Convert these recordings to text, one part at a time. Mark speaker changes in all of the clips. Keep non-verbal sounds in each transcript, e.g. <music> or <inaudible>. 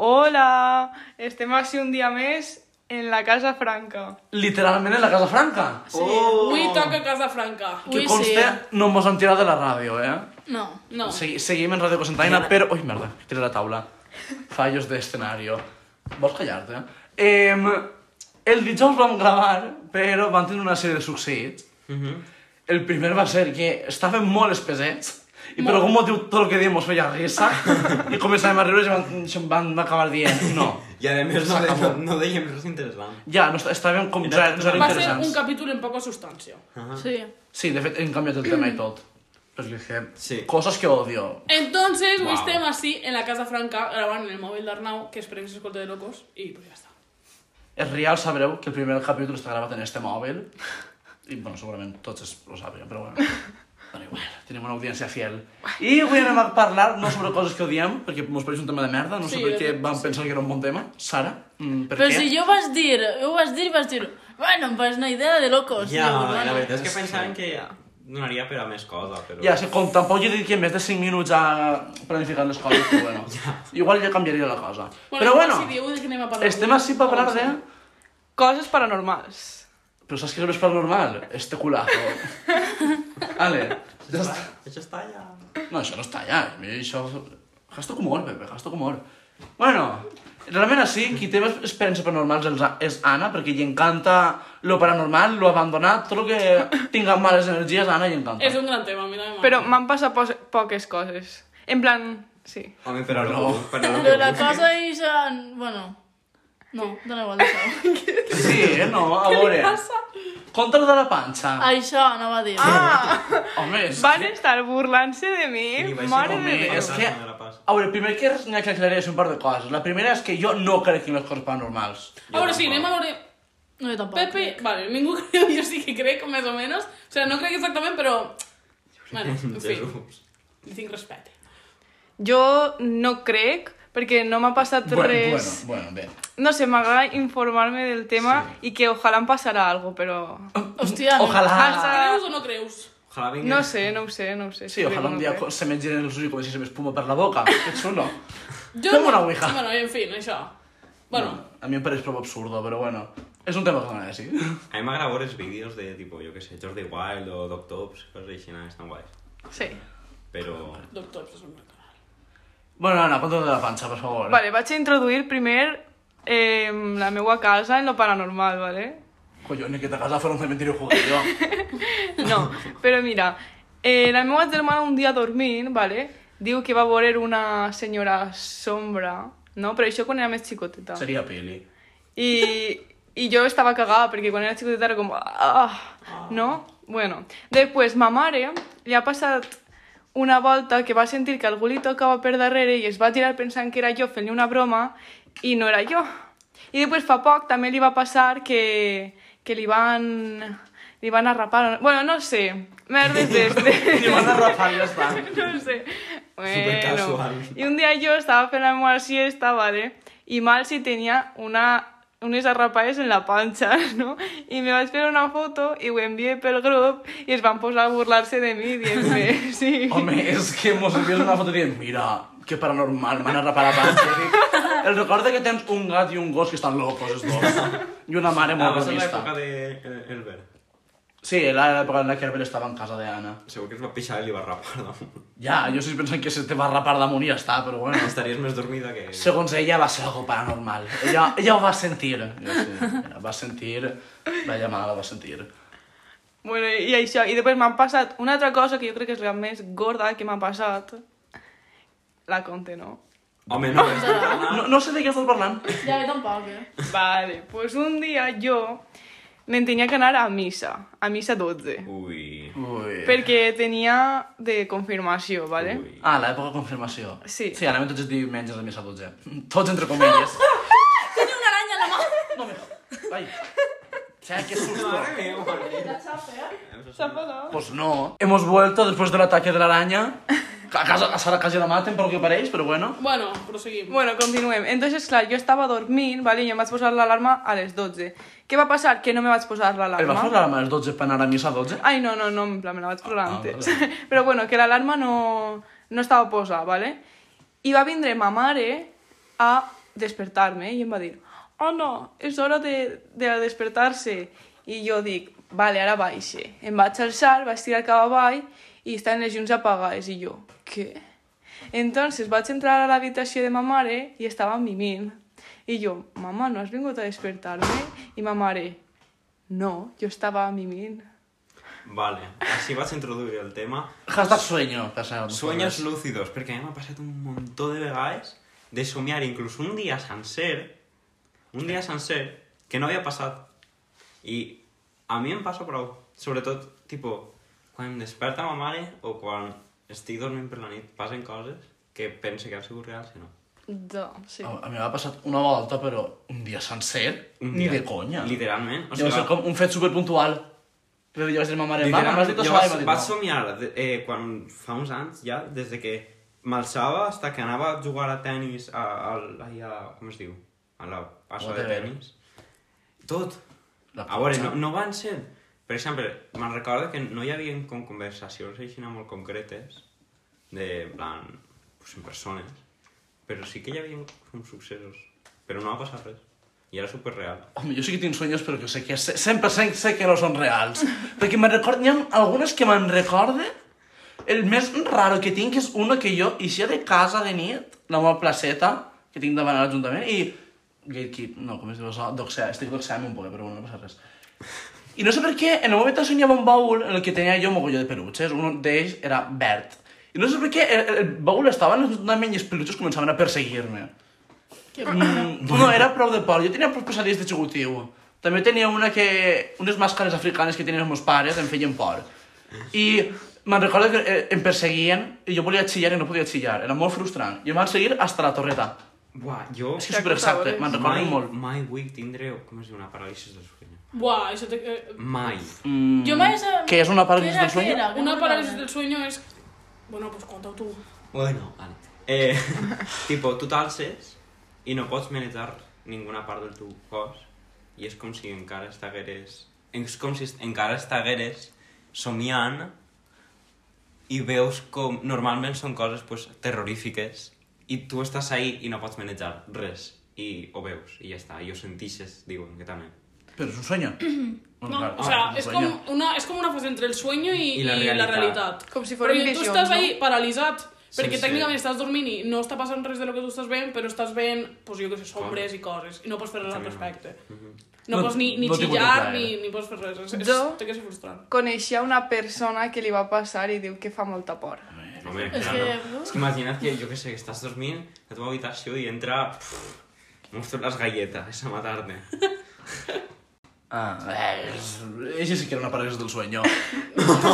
Speaker 1: Hola! Estem així un dia més en la Casa Franca.
Speaker 2: Literalment en la Casa Franca. Sí. Oh.
Speaker 3: Avui toca Casa Franca.
Speaker 2: Que
Speaker 4: Ui,
Speaker 2: conste, no mos han tirat de la ràdio, eh?
Speaker 4: No.
Speaker 3: No.
Speaker 2: Segui, seguim en Radio Cosentaina, però... Ui, merda, tiré la taula. Fallos d'escenario. Vols callar-te? Eh, el dijous vam gravar, però van tenir una sèrie de succeïts. El primer va ser que estàvem molt espesets, i per algun motiu tot el que dèiem mos feia risa, i començàvem a riure i van, se'n van acabar dient no.
Speaker 5: I a més no, no, no dèiem res interessant.
Speaker 2: Ja, no, est- estàvem com zero, zero
Speaker 3: Va ser un
Speaker 2: interessants.
Speaker 3: capítol en poca substància.
Speaker 4: Sí.
Speaker 2: Sí, de fet, hem canviat el tema i tot. Perquè <clears throat> és que...
Speaker 5: Sí.
Speaker 2: Coses que odio.
Speaker 3: Entonces, wow.
Speaker 5: Wow.
Speaker 3: estem así en la Casa Franca grabant en el mòbil d'Arnau, que esperem que s'escolta de locos, i pues ja està.
Speaker 2: És real, sabreu que el primer capítol està gravat en este mòbil. I, bueno, segurament tots es, ho saben, però <laughs> bueno. Però igual, tenim una audiència fiel. I avui anem a parlar no sobre coses que odiem, perquè mos pareix un tema de merda, no sé
Speaker 3: Sí,
Speaker 2: per
Speaker 3: de
Speaker 2: què
Speaker 3: fet,
Speaker 2: van pensar que era un bon tema. Sara, mm, per
Speaker 4: Però
Speaker 2: què?
Speaker 4: si jo vas dir, jo vas dir, vas dir, bueno, pues una idea de locos.
Speaker 5: Ja,
Speaker 4: Digo,
Speaker 5: la
Speaker 4: bueno.
Speaker 5: veritat és que pensaven que ja donaria per a més cosa, però...
Speaker 2: Ja, si com tampoc he dit que més de 5 minuts a planificar les coses, però
Speaker 3: <laughs>
Speaker 2: bueno. Igual ja canviaria la cosa. però
Speaker 3: igual
Speaker 2: bueno,
Speaker 3: si dieu de què anem a parlar
Speaker 2: estem
Speaker 3: avui.
Speaker 2: així per parlar de...
Speaker 1: Coses paranormals.
Speaker 2: Però saps què és més paranormal? Este <laughs> culazo. Ale, ja està.
Speaker 5: Això està ja...
Speaker 2: No, això no està allà. A mi això... Gasto com humor, bebé, gasto com humor. Bueno, realment sí, qui té més experiències paranormals és a- és Anna, perquè li encanta lo paranormal, lo abandonat, tot el que tinga males energies, a Anna li encanta.
Speaker 3: És un gran tema, mira, mira.
Speaker 1: Però m'han passat pos- poques coses. En plan, sí.
Speaker 5: Home, però
Speaker 2: No.
Speaker 5: no. Per a lo
Speaker 4: Però
Speaker 5: que
Speaker 4: la
Speaker 5: vulguis.
Speaker 4: cosa és... eh, Bueno, no, dona igual això.
Speaker 2: Sí, eh, no, a veure. Contra de la panxa.
Speaker 4: Això anava a dir.
Speaker 1: Ah!
Speaker 2: Home, és
Speaker 1: Van
Speaker 2: que...
Speaker 1: estar burlant-se de mi,
Speaker 5: I vaig ser
Speaker 1: mare
Speaker 5: com
Speaker 1: de
Speaker 5: mi,
Speaker 1: Déu.
Speaker 2: És que...
Speaker 5: No me la passo.
Speaker 2: A veure, primer que res n'hi ha que aclarir és un par de coses. La primera és que jo no crec en les coses paranormals.
Speaker 3: A veure, sí, anem a veure...
Speaker 4: No, jo tampoc.
Speaker 3: Pepe, vale, ningú <laughs> creu, jo sí que crec, més o menys. O sigui, no crec exactament, però...
Speaker 2: <laughs>
Speaker 3: Bueno, en fi,
Speaker 5: Jesús.
Speaker 3: li tinc respecte.
Speaker 1: Jo no crec, perquè no m'ha passat
Speaker 2: Bueno,
Speaker 1: res...
Speaker 2: bueno, bueno, bé.
Speaker 1: No sé, m'agrada informar-me del tema i que ojalà em passarà alguna
Speaker 2: Ah.
Speaker 1: però...
Speaker 4: Hòstia, no.
Speaker 2: Ojalà.
Speaker 1: Hasta- Ah.
Speaker 3: Creus o no creus?
Speaker 5: Ojalà vingui...
Speaker 1: No sé, no ho sé, no ho sé.
Speaker 2: Sí, ojalà un dia
Speaker 1: crec.
Speaker 2: se me giren els ulls i comenci a ser espuma per la
Speaker 5: <laughs>
Speaker 2: boca. Que xulo.
Speaker 3: Jo
Speaker 2: Fem
Speaker 3: no-
Speaker 2: una ouija.
Speaker 3: Bueno, en fi, això. Bueno,
Speaker 2: A mi em pareix prou absurdo, però bueno. És un tema que m'agrada, sí.
Speaker 5: A mi m'agrada veure els vídeos de, tipo, jo què sé, Jordi Wild o Doc Tops, coses així, no, estan guais.
Speaker 1: Sí.
Speaker 5: Però...
Speaker 3: doctor, és un gran canal.
Speaker 2: <laughs> Bueno, Anna, conta de la panxa, per favor.
Speaker 1: Vale, vaig a introduir primer eh, la meua casa en lo paranormal, ¿vale?
Speaker 2: Collons, que ta casa fora un cementerio judío.
Speaker 5: <laughs>
Speaker 1: No, però mira, eh, la meva germana un dia dormint, ¿vale? diu que va veure una senyora sombra, no? Però això quan era més xicoteta.
Speaker 2: Seria Pili.
Speaker 5: <laughs>
Speaker 1: I, i jo estava cagada perquè quan era xicoteta era com... Ah, no? Bueno, després ma mare li ha passat una volta que va sentir que algú li tocava per darrere i es va tirar pensant que era jo fent-li una broma i no era jo. I després fa poc també li va passar que, que li van... li van arrapar... o- Bueno, no sé, merdes d'este.
Speaker 2: Li van arrapar, ja està.
Speaker 1: <laughs> no sé. Bueno,
Speaker 5: Supercasual.
Speaker 1: y un día yo estaba cenando la siesta, ¿vale? Y Malsi tenía una, unes arrapades en la pancha, <laughs> ¿no? Y me va a esperar una foto y ho envié pel grup y es van posar a burlarse de mí, dient-me, <laughs> sí.
Speaker 2: Home, és que mos envies una foto dient, mira, que paranormal, m'han arrapat la panxa. Dic,
Speaker 5: <laughs>
Speaker 2: El record de que tens un gat i un gos que estan locos, els dos. I una mare
Speaker 5: Ah,
Speaker 2: molt
Speaker 5: va ser
Speaker 2: bromista.
Speaker 5: l'època de eh, Elbert.
Speaker 2: Sí, era l'època en la que Herbert estava en casa d'Anna.
Speaker 5: Segur que es va pixar i li va <laughs> rapar damunt.
Speaker 2: Ja, jo estic pensant que se te va rapar damunt i ja està, però bueno.
Speaker 5: Estaries més dormida que...
Speaker 2: Segons ella va ser algo paranormal. Ella, ella ho va sentir. Jo sí, mira, va sentir... La llamada la va sentir.
Speaker 1: Bueno, i això, i després m'han passat una altra cosa que jo crec que és la més gorda que m'ha passat. La conte, no?
Speaker 5: Home, no, és
Speaker 2: No, no sé de què estàs parlant.
Speaker 4: Ja, jo tampoc, eh.
Speaker 1: Vale, pues un día yo me tenía que anar a misa, a misa 12.
Speaker 5: Ui...
Speaker 2: Ui.
Speaker 1: Perquè tenia de confirmació, ¿vale?
Speaker 5: Ui.
Speaker 2: Ah, l'època de confirmació.
Speaker 1: Sí.
Speaker 2: Sí, anem tots els diumenges a missa 12. Tots entre comelles.
Speaker 4: <laughs> Tenia una aranya a la mà.
Speaker 2: No me... Ai. Xa, que susto.
Speaker 5: Mare meva.
Speaker 4: La xapa, eh?
Speaker 1: S'ha pagat.
Speaker 2: Pues no. Hemos vuelto después del ataque de la araña. A casa, a Sara quasi la maten pel que pareix, però bueno.
Speaker 3: Bueno, proseguim.
Speaker 1: Bueno, continuem. Entonces, clar, jo estava dormint, vale, i em vaig posar l'alarma a les 12. Què va passar? Que no me vaig posar
Speaker 2: El vas
Speaker 1: l'alarma.
Speaker 2: posar a les 12 per anar a missa a 12?
Speaker 1: Ai, no, no, no, en plan, me la vaig posar
Speaker 2: eh? Ah,
Speaker 1: antes.
Speaker 2: vale.
Speaker 1: <laughs> Però bueno, que l'alarma no, no estava posada, vale? I va vindre ma mare a despertar-me eh? i em va dir «Oh, no, és hora de, de despertar-se». I jo dic «Vale, ara baixe». Em vaig alçar, vaig tirar cap avall i estaven les llums apagades. I jo «Què?». Entonces vaig entrar a l'habitació de ma mare i estava mimint. I jo «Mama, no has vingut a despertar-me?». I ma mare «No, jo estava mimint».
Speaker 5: Vale, així vas introduir el tema.
Speaker 2: Hashtag sueño, per cert.
Speaker 5: Sueños lúcidos, perquè a mi m'ha passat un muntó de vegades de somiar inclús un dia sencer, un dia sencer, que no havia passat. I a mi em passa prou, sobretot, tipo, quan em desperta ma mare o quan estic dormint per la nit, passen coses que penso que han sigut reals i no.
Speaker 1: Da, sí.
Speaker 2: A, a mi m'ha passat una volta, però un dia sencer, ni de conya.
Speaker 5: Literalment.
Speaker 2: O sigui, va ser com un fet superpuntual. Però jo vaig dir a ma mare, mama, m'has
Speaker 5: Literalment,
Speaker 2: dit això?
Speaker 5: jo
Speaker 2: I
Speaker 5: vaig,
Speaker 2: va dir,
Speaker 5: vaig
Speaker 2: no.
Speaker 5: somiar de- eh, quan fa uns anys ja, des de que m'alçava fins que anava a jugar a tennis a, a, a, a, com es diu? A la passa de
Speaker 2: Whatever.
Speaker 5: tennis. Tot.
Speaker 2: La
Speaker 5: a veure,
Speaker 2: platja.
Speaker 5: no, no van ser... Per exemple, me'n recordo que no hi havia com conversacions així molt concretes, de, en plan, pues, en persones, però sí que hi havia com successos, però no va passar res. I era superreal.
Speaker 2: Home, jo sí que tinc sueños, però que sé que sé, sempre sé, sé que no són reals. Perquè me'n record... N'hi ha algunes que me'n recorde. El més raro que tinc és una que jo eixia de casa de nit, la meva placeta, que tinc davant a l'Ajuntament, i... Gatekeep, no, com es diu això? Doxear, estic doxeant un poc, eh, però bueno, no passa res. I no sé per què, en el moment somiava un baúl en el que tenia jo mogolló de peluches, un d'ells era verd. I no sé per què el, el baúl estava en l'Ajuntament i els peluches començaven a perseguir-me. Mm, no, era prou de por. Jo tenia prou pesadilles d'executiu. També tenia una que... unes màscares africanes que tenien els meus pares, em feien por. I me'n recordo que eh, em perseguien i jo volia xillar i no podia xillar. Era molt frustrant. I em van seguir fins a la torreta.
Speaker 5: Buah, jo...
Speaker 2: És que és superexacte, me'n
Speaker 5: mai,
Speaker 2: recordo molt.
Speaker 5: mai vull tindre, com es diu, una paràlisi del somni.
Speaker 3: Buah, això té... eh,
Speaker 5: Mai.
Speaker 4: Yo me esa...
Speaker 2: ¿Qué es Mm, una parálisis
Speaker 4: ¿Qué era,
Speaker 2: del sueño?
Speaker 4: qué era? ¿Qué
Speaker 3: Una
Speaker 4: me
Speaker 3: parálisis
Speaker 4: acuerdo?
Speaker 3: del sueño es... Bueno, pues cuéntalo tú.
Speaker 5: Bueno, vale. Eh, <laughs> tipo, tu t'alces i no pots manejar ninguna part del teu cos i és com si encara estigueres... És com si est- encara estigueres somiant i veus com... Normalment són coses pues, terrorífiques i tu estàs ahí i no pots manejar res i ho veus i ja està, i ho sentixes, diuen que també.
Speaker 2: Però és un
Speaker 3: <clears throat>
Speaker 2: sueño.
Speaker 3: No,
Speaker 2: claro,
Speaker 3: o sea,
Speaker 2: un
Speaker 3: es
Speaker 2: sueño.
Speaker 3: como, una, es como una fase entre el sueño y,
Speaker 5: Y la
Speaker 3: y
Speaker 5: realidad.
Speaker 1: Com si
Speaker 3: Però
Speaker 1: foren
Speaker 3: tu
Speaker 1: visions,
Speaker 3: estàs
Speaker 1: no?
Speaker 3: ahí paralitzat, perquè
Speaker 5: sí.
Speaker 3: tècnicament estàs dormint i no està passant res de lo que tu estàs veient, però estàs veient, pues, jo que sé, sombres i coses, i no pots fer res al
Speaker 5: També no.
Speaker 3: respecte.
Speaker 2: No-
Speaker 3: No pots ni, ni
Speaker 2: no t'hi pot
Speaker 3: xillar,
Speaker 2: entrar,
Speaker 3: ni,
Speaker 2: eh?
Speaker 3: ni pots fer res. És, és,
Speaker 1: Jo-
Speaker 3: Té que ser frustrant.
Speaker 1: coneixia una persona que li va passar i diu que fa molta por.
Speaker 5: Home,
Speaker 4: És
Speaker 5: clar,
Speaker 4: que-
Speaker 5: no. És que imagina't que, jo que sé, que estàs dormint a la teva habitació i entra... Pff, mostro les galletes a matar-te.
Speaker 2: Ah, eh, és- ella sí que era una parálisis del
Speaker 3: <laughs>
Speaker 2: sueño.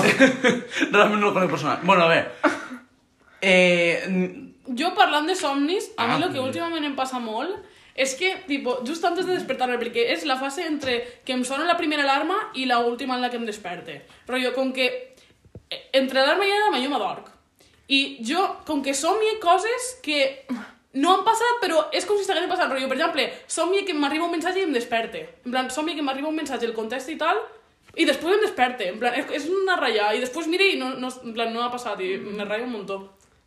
Speaker 2: <laughs> Realment no la conec personal. Bueno, a veure. Eh,
Speaker 3: Jo parlant de somnis, a
Speaker 2: Ah,
Speaker 3: mi el que
Speaker 2: mira.
Speaker 3: últimament em passa molt és que, tipo, just antes de despertar-me, perquè és la fase entre que em sona la primera alarma i la última en la que em desperte. Però jo, com que eh, entre alarma i alarma jo m'adorc. I jo, com que somie coses que no han passat, però és com si s'haguessin passat. Però jo, per exemple, somie que m'arriba un missatge i em desperte. En plan, somie que m'arriba un missatge, el contesta i tal, i després em desperte. En plan, és, és una ratlla. I després mire i no, no, en plan, no ha passat i me ratlla un muntó.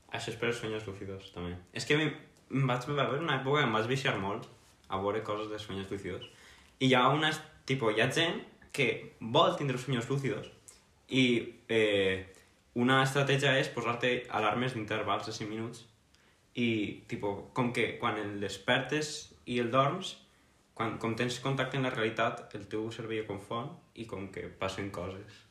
Speaker 5: Ah, Això és per als sueños lúcidos, també. És que a mi em vaig va haver una època que em vaig viciar molt a veure coses de sueños lúcidos. I hi ha unes... Tipo, hi ha gent que vol tindre sueños lúcidos i eh, una estratègia és posar-te alarmes d'intervals de 5 minuts i, tipo, com que quan el despertes i el dorms, quan, com tens contacte amb la realitat, el teu cervell ho confon i com que passen coses.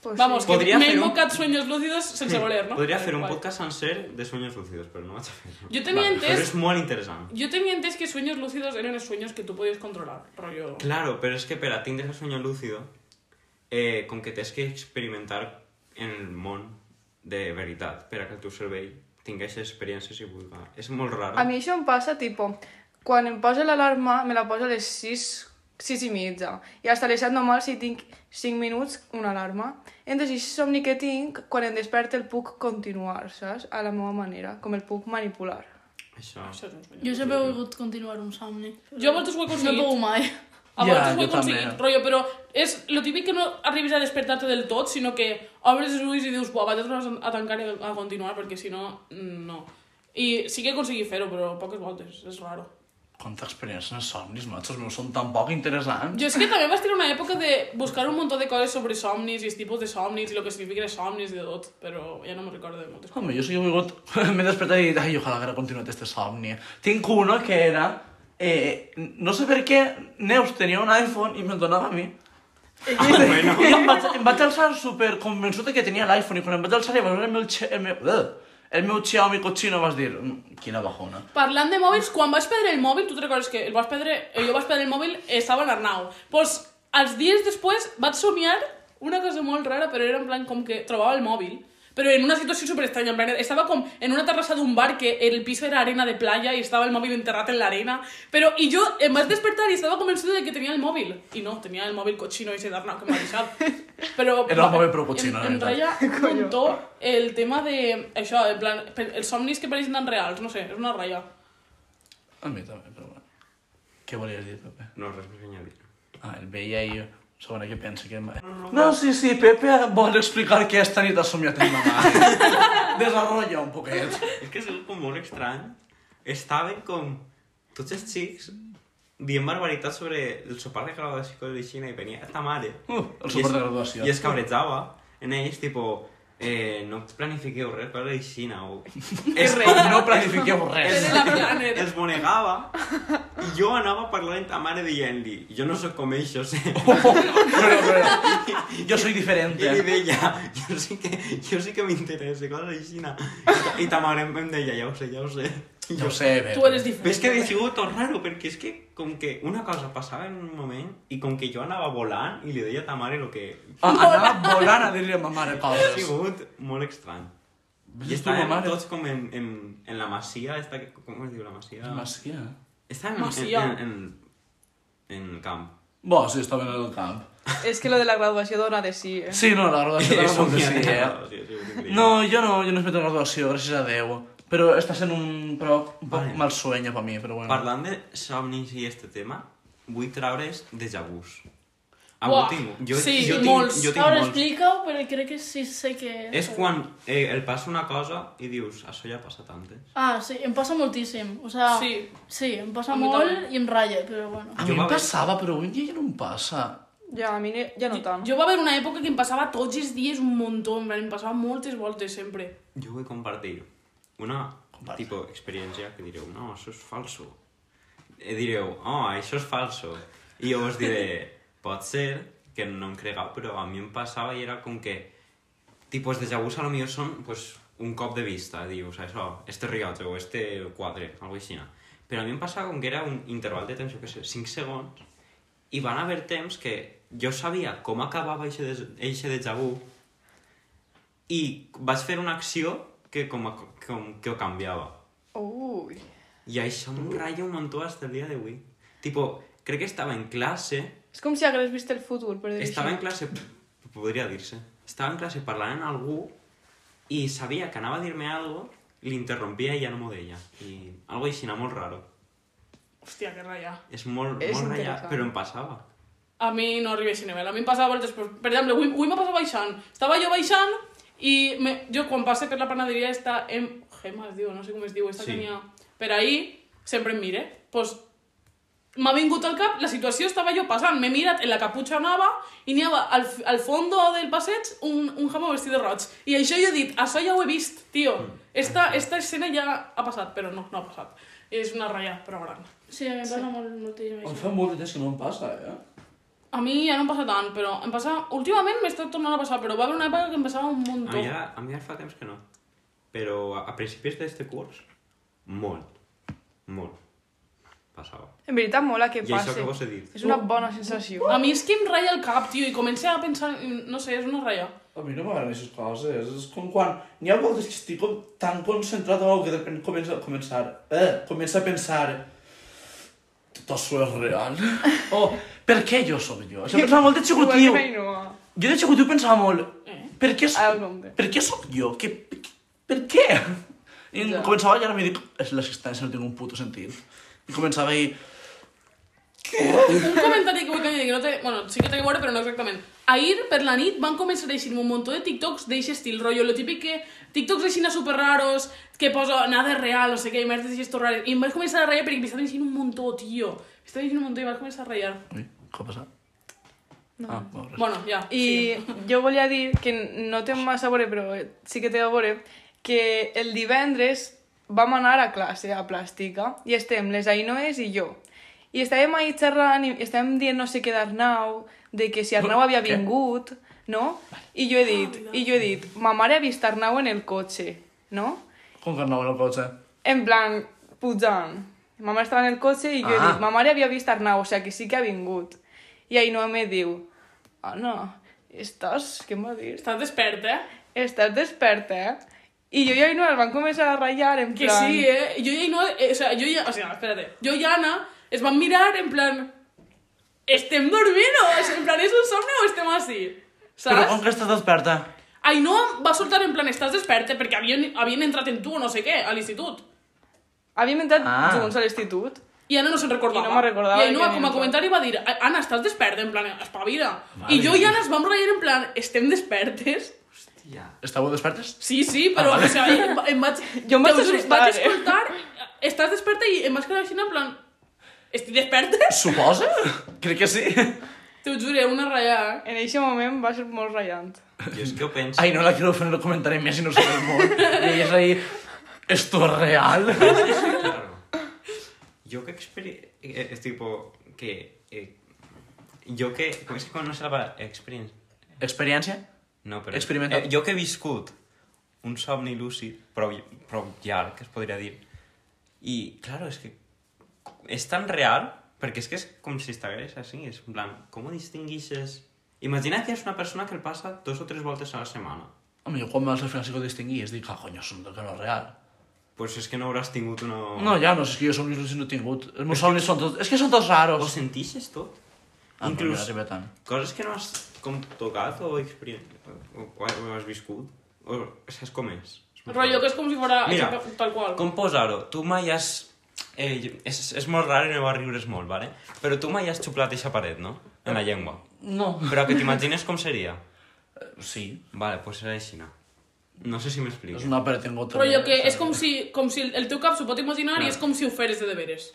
Speaker 1: Pues
Speaker 3: Vamos,
Speaker 1: sí.
Speaker 3: que
Speaker 5: Podría
Speaker 3: me he
Speaker 5: hacer un-
Speaker 3: invocat sueños lúcidos sense voler, ¿no?
Speaker 5: Podria fer un
Speaker 3: Guai.
Speaker 5: podcast sencer de sueños lúcidos, però no vaig a fer-ho.
Speaker 3: Jo tenia entès-
Speaker 5: Però és molt interessant.
Speaker 3: Yo tenía antes que sueños lúcidos eran los sueños que tú podías controlar, rollo...
Speaker 5: Claro, pero es que para tindre el sueño lúcido, eh, con que tens que experimentar en el món de veritat per a que el teu cervell tingués experiències i vulga. És molt raro.
Speaker 1: A mi això em passa, tipo, quan em posa l'alarma, me la posa a les 6 6 i mitja. I hasta les 7 normal, si tinc 5 minuts, una alarma. Entonces, aquest somni que tinc, quan em desperta el puc continuar, saps? A la meva manera, com el puc manipular.
Speaker 5: Això.
Speaker 3: Això és un colló.
Speaker 4: Jo sempre he volgut continuar un somni.
Speaker 3: Jo moltes ho he
Speaker 4: No he
Speaker 3: aconseguit.
Speaker 4: pogut mai.
Speaker 3: A
Speaker 2: Ja,
Speaker 3: vegades ho he
Speaker 2: jo també.
Speaker 3: aconseguit, rotllo, però és lo típic que no arribis a despertar-te del tot, sinó que obres els ulls i dius, buah, vaig tornar a tancar i a continuar, perquè si no, mm, no. I sí que he aconseguit fer-ho, però poques voltes, és raro.
Speaker 2: Quanta experiència en somnis, macho, els meus són tan poc interessants.
Speaker 3: Jo és que també vaig tenir una època de buscar un munt de coses sobre somnis i els tipus de somnis i el que significa els somnis i de tot, però ja no me recordo de moltes coses.
Speaker 2: Home, jo sí que he volgut... <laughs> M'he despertat i dit, ai, ojalà que haguera continuat este somni. Tinc uno que era... Eh, no sé per què Neus tenia un iPhone i me'l donava a mi.
Speaker 5: Ah, bueno.
Speaker 2: I em vaig, em vaig alçar super convençut de que tenia l'iPhone i quan em vaig alçar i vaig veure el meu, xe- el meu, el meu Xiaomi cochino vas dir, "Mm, quina bajona.
Speaker 3: Parlant de mòbils, quan vas perdre el mòbil, tu te recordes que el vas perdre, eh, jo vaig perdre el mòbil, eh, estava en Arnau. Pues, els dies després vaig somiar una cosa molt rara, però era en plan com que trobava el mòbil. Però en una situació super estranya, en plan, estava com en una terrassa d'un bar que el pis era arena de playa i estava el mòbil enterrat en l'arena. Però, i jo em vaig despertar i estava convençuda de que tenia el mòbil. I no, tenia el mòbil cochino ese d'Arnau que m'ha deixat. Però...
Speaker 2: Era el mòbil, però cochino,
Speaker 3: Em, em
Speaker 2: la veritat.
Speaker 3: reia un muntó el tema de... Això, en plan, per- els somnis que pareixen tan reals, no sé, és una ratlla.
Speaker 2: A mi també, però bueno. Què volies dir, Pepe?
Speaker 5: No, res més a añadir.
Speaker 2: Ah, el veia i segona que pensa que... No, sí, sí, Pepe vol explicar què esta nit ha somiat amb ma mare.
Speaker 5: <laughs>
Speaker 2: Desarrolla un poquet.
Speaker 5: És que és algo com molt estrany. Estaven com tots els xics dient barbaritats sobre el sopar de graduació de Xina i venia esta mare.
Speaker 2: Uh, el
Speaker 5: I
Speaker 2: sopar
Speaker 5: es-
Speaker 2: de graduació.
Speaker 5: I es cabrejava en ells, tipo, eh, no planifiqueu res, cosa de Xina. O... es,
Speaker 2: No planifiqueu res.
Speaker 5: <laughs>
Speaker 3: Era la planera.
Speaker 5: es bonegava i jo anava parlant a mare dient-li jo no sóc com ells,
Speaker 2: Oh, però, però, jo soy diferent. eh.
Speaker 5: I li deia, jo sí que, jo sí que m'interessa, cosa així. I ta mare em deia, ja ho sé, ja ho sé. I
Speaker 2: Jo ho sé, Pepe.
Speaker 3: Tu eres
Speaker 5: Però és
Speaker 3: diferent.
Speaker 5: que havia sigut tot raro, perquè és que com que una cosa passava en un moment i com que jo anava volant i li deia a ta mare el que...
Speaker 2: Ah, anava volant a dir-li a ma mare
Speaker 5: Ha
Speaker 2: coses.
Speaker 5: sigut molt estrany. I
Speaker 2: Ves tu, ma
Speaker 5: estàvem
Speaker 2: mare.
Speaker 5: tots com en, en, en la masia, esta, que- com es diu la masia?
Speaker 2: Masia.
Speaker 5: Estàvem
Speaker 3: Masia.
Speaker 5: En, en, en, en camp.
Speaker 2: Bo, sí, estava en el camp.
Speaker 5: Eh?
Speaker 1: És que lo de la graduació dona de sí, eh?
Speaker 2: Sí, no, la
Speaker 5: <laughs>
Speaker 2: graduació
Speaker 5: He
Speaker 2: era molt de
Speaker 5: somiat
Speaker 2: sí,
Speaker 5: en
Speaker 2: eh?
Speaker 5: la graduació, ha sigut increïble.
Speaker 2: No, jo no, jo no he fet la graduació, gràcies a Déu. Però està sent un, però, un poc
Speaker 5: Vale.
Speaker 2: mal sueño per mi, però bueno.
Speaker 5: Parlant de somnis i este tema, vull traure's déjà vus. Ah,
Speaker 3: Uah,
Speaker 5: ho tinc. Jo,
Speaker 3: sí,
Speaker 5: jo tinc,
Speaker 3: molts.
Speaker 5: Jo tinc
Speaker 4: Ara
Speaker 5: molts.
Speaker 4: explica-ho, però crec que sí sé què és.
Speaker 5: És quan eh, el passa una cosa i dius, això ja ha passat antes.
Speaker 4: Ah, sí, em passa moltíssim. O sea,
Speaker 3: Sí.
Speaker 4: sí, em passa
Speaker 3: A mi
Speaker 4: molt
Speaker 3: també.
Speaker 4: i em ratlla, però bueno.
Speaker 2: A
Speaker 5: Jo
Speaker 2: mi em
Speaker 5: va-
Speaker 2: passava, però avui en dia ja no em passa.
Speaker 1: Ja, a mi ne- ja no tant.
Speaker 3: Jo va haver una època que em passava tots els dies un muntó, en plan, em passava moltes voltes sempre.
Speaker 5: Jo vull compartir una
Speaker 2: Comparta.
Speaker 5: tipo, experiència que direu, no, això és falso. Eh, direu, oh, això és falso. I jo us diré, pot ser que no em cregueu, però a mi em passava i era com que tipus de jabús a lo millor són pues, un cop de vista, dius, això, este rellotge o este quadre, alguna cosa així. Però a mi em passava com que era un interval de temps, jo què sé, 5 segons, i van haver temps que jo sabia com acabava eixe de, eixe de jabú i vaig fer una acció que com, a, com que ho canviava.
Speaker 1: Ui.
Speaker 5: I això em ratlla un muntó hasta el dia d'avui. Tipo, crec que estava en classe,
Speaker 1: És com si hagués vist el futur, per dir
Speaker 5: estava en
Speaker 1: així.
Speaker 5: classe, podria dir-se, estava en classe parlant amb algú i sabia que anava a dir-me algo, l'interrompia i ja no m'ho deia. I algo així, molt raro.
Speaker 3: Hòstia, que ratlla.
Speaker 5: És molt,
Speaker 1: És
Speaker 5: molt ratllat,
Speaker 1: interessant.
Speaker 5: però em passava.
Speaker 3: A mi no arriba a aquest nivell, a mi em passava voltes... Per, per exemple, avui, avui m'ha passat baixant. Estava jo baixant i me, jo quan passe per la panaderia està... Em, Gema es diu, no sé com es diu, esta
Speaker 5: Sí.
Speaker 3: sí. que n'hi ha... Per ahir sempre em mire. Pues, m'ha vingut al cap, la situació estava jo passant, m'he mirat en la caputxa nova i n'hi havia al, f- al fondo del passeig un, un jamo vestit de roig. I això jo he dit, això ja ho he vist, tio. Esta, esta escena ja ha passat, però no, no ha passat. És una ratlla, però gran.
Speaker 4: Sí, a mi em passa molt, moltíssim
Speaker 2: Em
Speaker 4: això.
Speaker 2: fa molt de temps que no em passa, eh?
Speaker 3: A mi ja no em passa tant, però em passa... Últimament m'està tornant a passar, però va haver una època que em passava un
Speaker 5: A mi,
Speaker 3: muntó.
Speaker 5: ara, a mi ara fa temps que no. Però a, a principis d'aquest curs, molt, molt, passava.
Speaker 1: En veritat mola que
Speaker 5: I això
Speaker 1: passi.
Speaker 5: que vos Uh! he dit.
Speaker 1: És una bona sensació.
Speaker 3: A mi és que em ratlla el cap, tio, i comença a pensar... No sé, és una ratlla.
Speaker 2: A mi no m'agraden aquestes coses. És com quan... N'hi ha voltes que estic com tan concentrat en alguna cosa que de repente comença a començar... Eh, comença a pensar... tot això és real. O, Oh, per què jo sóc jo? Això pensava molt d'executiu.
Speaker 1: Igual que Ainhoa.
Speaker 2: Jo d'executiu pensava molt, per què,
Speaker 1: Ara
Speaker 2: sóc,
Speaker 1: el compte.
Speaker 2: per què sóc jo? Que, per què? I començava i ara m'he dit, és l'existència no té un puto sentit. I començava i...
Speaker 3: Un comentari que vull que em digui, no té... Bueno, sí que té a veure, però no exactament. Ahir, per la nit, van començar a eixir un munt de TikToks d'eixe estil, rotllo, lo típic que... TikToks així super raros, que poso nada és real, no sé què, i merdes així estos raros. I em vaig començar a ratllar perquè m'estaven eixint un munt, tio. M'estaven eixint un munt i vaig començar a ratllar.
Speaker 2: Ui, què ha passat? No. Ah, bueno, res.
Speaker 3: Bueno, ja,
Speaker 1: I
Speaker 3: sí.
Speaker 1: jo volia dir que no té massa a veure, però sí que té a veure, que el divendres vam anar a classe, a plàstica, i estem les Ainoes i jo. I estàvem ahí xerrant i estàvem dient no sé què d'Arnau, de que si Arnau havia
Speaker 2: Què?
Speaker 1: vingut, no? I jo he dit, i jo he dit, ma mare ha vist Arnau en el cotxe, no?
Speaker 2: Com que anava en el cotxe?
Speaker 1: En plan, pujant. Ma mare estava en el cotxe i jo he
Speaker 2: Ah.
Speaker 1: dit, ma mare havia vist Arnau, o sigui que sí que ha vingut. I Ainhoa me diu, Anna, estàs, què em va dir?
Speaker 3: Estàs despert, eh?
Speaker 1: Estàs desperta, eh? I jo i Ainhoa el van començar a ratllar, en
Speaker 3: Que
Speaker 1: plan...
Speaker 3: sí, eh? Jo ja no... Eh, o sea, jo ja... O sea, espérate. Jo i Anna es van mirar en plan... Estem dormint o... és- En plan, és un somni o este estem així?
Speaker 2: Però com
Speaker 3: Saps?
Speaker 2: que estàs desperta?
Speaker 3: Ainhoa va soltar en plan, estàs desperta, perquè havien, havien entrat en tu o no sé què, a l'institut.
Speaker 1: Havíem entrat
Speaker 2: Ah.
Speaker 1: junts a l'institut.
Speaker 3: I Anna no se'n recordava.
Speaker 1: I no me'n recordava
Speaker 3: I Ainhoa,
Speaker 1: que
Speaker 3: com a
Speaker 1: havien
Speaker 3: comentari, va dir, "A- Anna, estàs desperta, en plan, espavila.
Speaker 2: Vale.
Speaker 3: I jo i Anna es vam ratllar en plan, estem despertes?
Speaker 5: Ja.
Speaker 2: Estàveu despertes?
Speaker 3: Sí, sí, però, o sea, em, va- em vaig...
Speaker 1: <laughs> Jo em vaig
Speaker 3: te ho juro,
Speaker 1: assustar,
Speaker 3: vaig
Speaker 1: eh?
Speaker 3: escoltar, estàs desperta i em vaig quedar així en plan, estic desperta?
Speaker 2: Suposa? Crec que sí.
Speaker 3: T'ho juro, una eh? ratllada.
Speaker 1: En aquest moment va ser molt ratllant.
Speaker 5: Jo és que ho penso.
Speaker 2: Ai, no la quiero ofender comentaré més si no sabes molt. I ella és ahí... Esto es real.
Speaker 5: Claro. Yo que experiencia... Es tipo que... eh, yo que... ¿Cómo es que conoce la palabra? Experience.
Speaker 2: Experiència?
Speaker 5: No, pero...
Speaker 2: Experimentat.
Speaker 5: Eh, jo que he viscut un somni lúcid prou, prou llarg, que es podria dir, i, claro, és que és tan real, perquè és que és com si estigués així, és en plan, com ho distinguixes? Imagina que és una persona que el passa dos o tres voltes a la setmana.
Speaker 2: Home, jo quan me'ls referència que ho distingui és dir, ah, coño, som que no és real.
Speaker 5: Pues és que no hauràs tingut una...
Speaker 2: No, ja no, és que jo somnis lúcids no he tingut. Els meus somnis són tots... És que són tots raros.
Speaker 5: Ho sentixes tot?
Speaker 2: Ah, Inclús... no
Speaker 5: Inclús-
Speaker 2: arriba tant.
Speaker 5: Coses que no has com tocat o experimentat o, o, o has viscut o saps com és?
Speaker 3: Rollo que és com si fora
Speaker 5: Mira,
Speaker 3: exacte- tal qual.
Speaker 5: Com posar-ho? Tu mai has... Eh, jo- és, és molt rar i no va riures molt, vale? Però tu mai has xuplat eixa paret, no? En la llengua.
Speaker 2: No.
Speaker 5: Però que t'imagines com seria?
Speaker 2: Sí,
Speaker 5: Vale, pues serà així, no? No sé si m'explico.
Speaker 2: és una pera tingut...
Speaker 3: Rollo que és com si, com si el teu cap s'ho pot imaginar i és com si ho feres de deberes.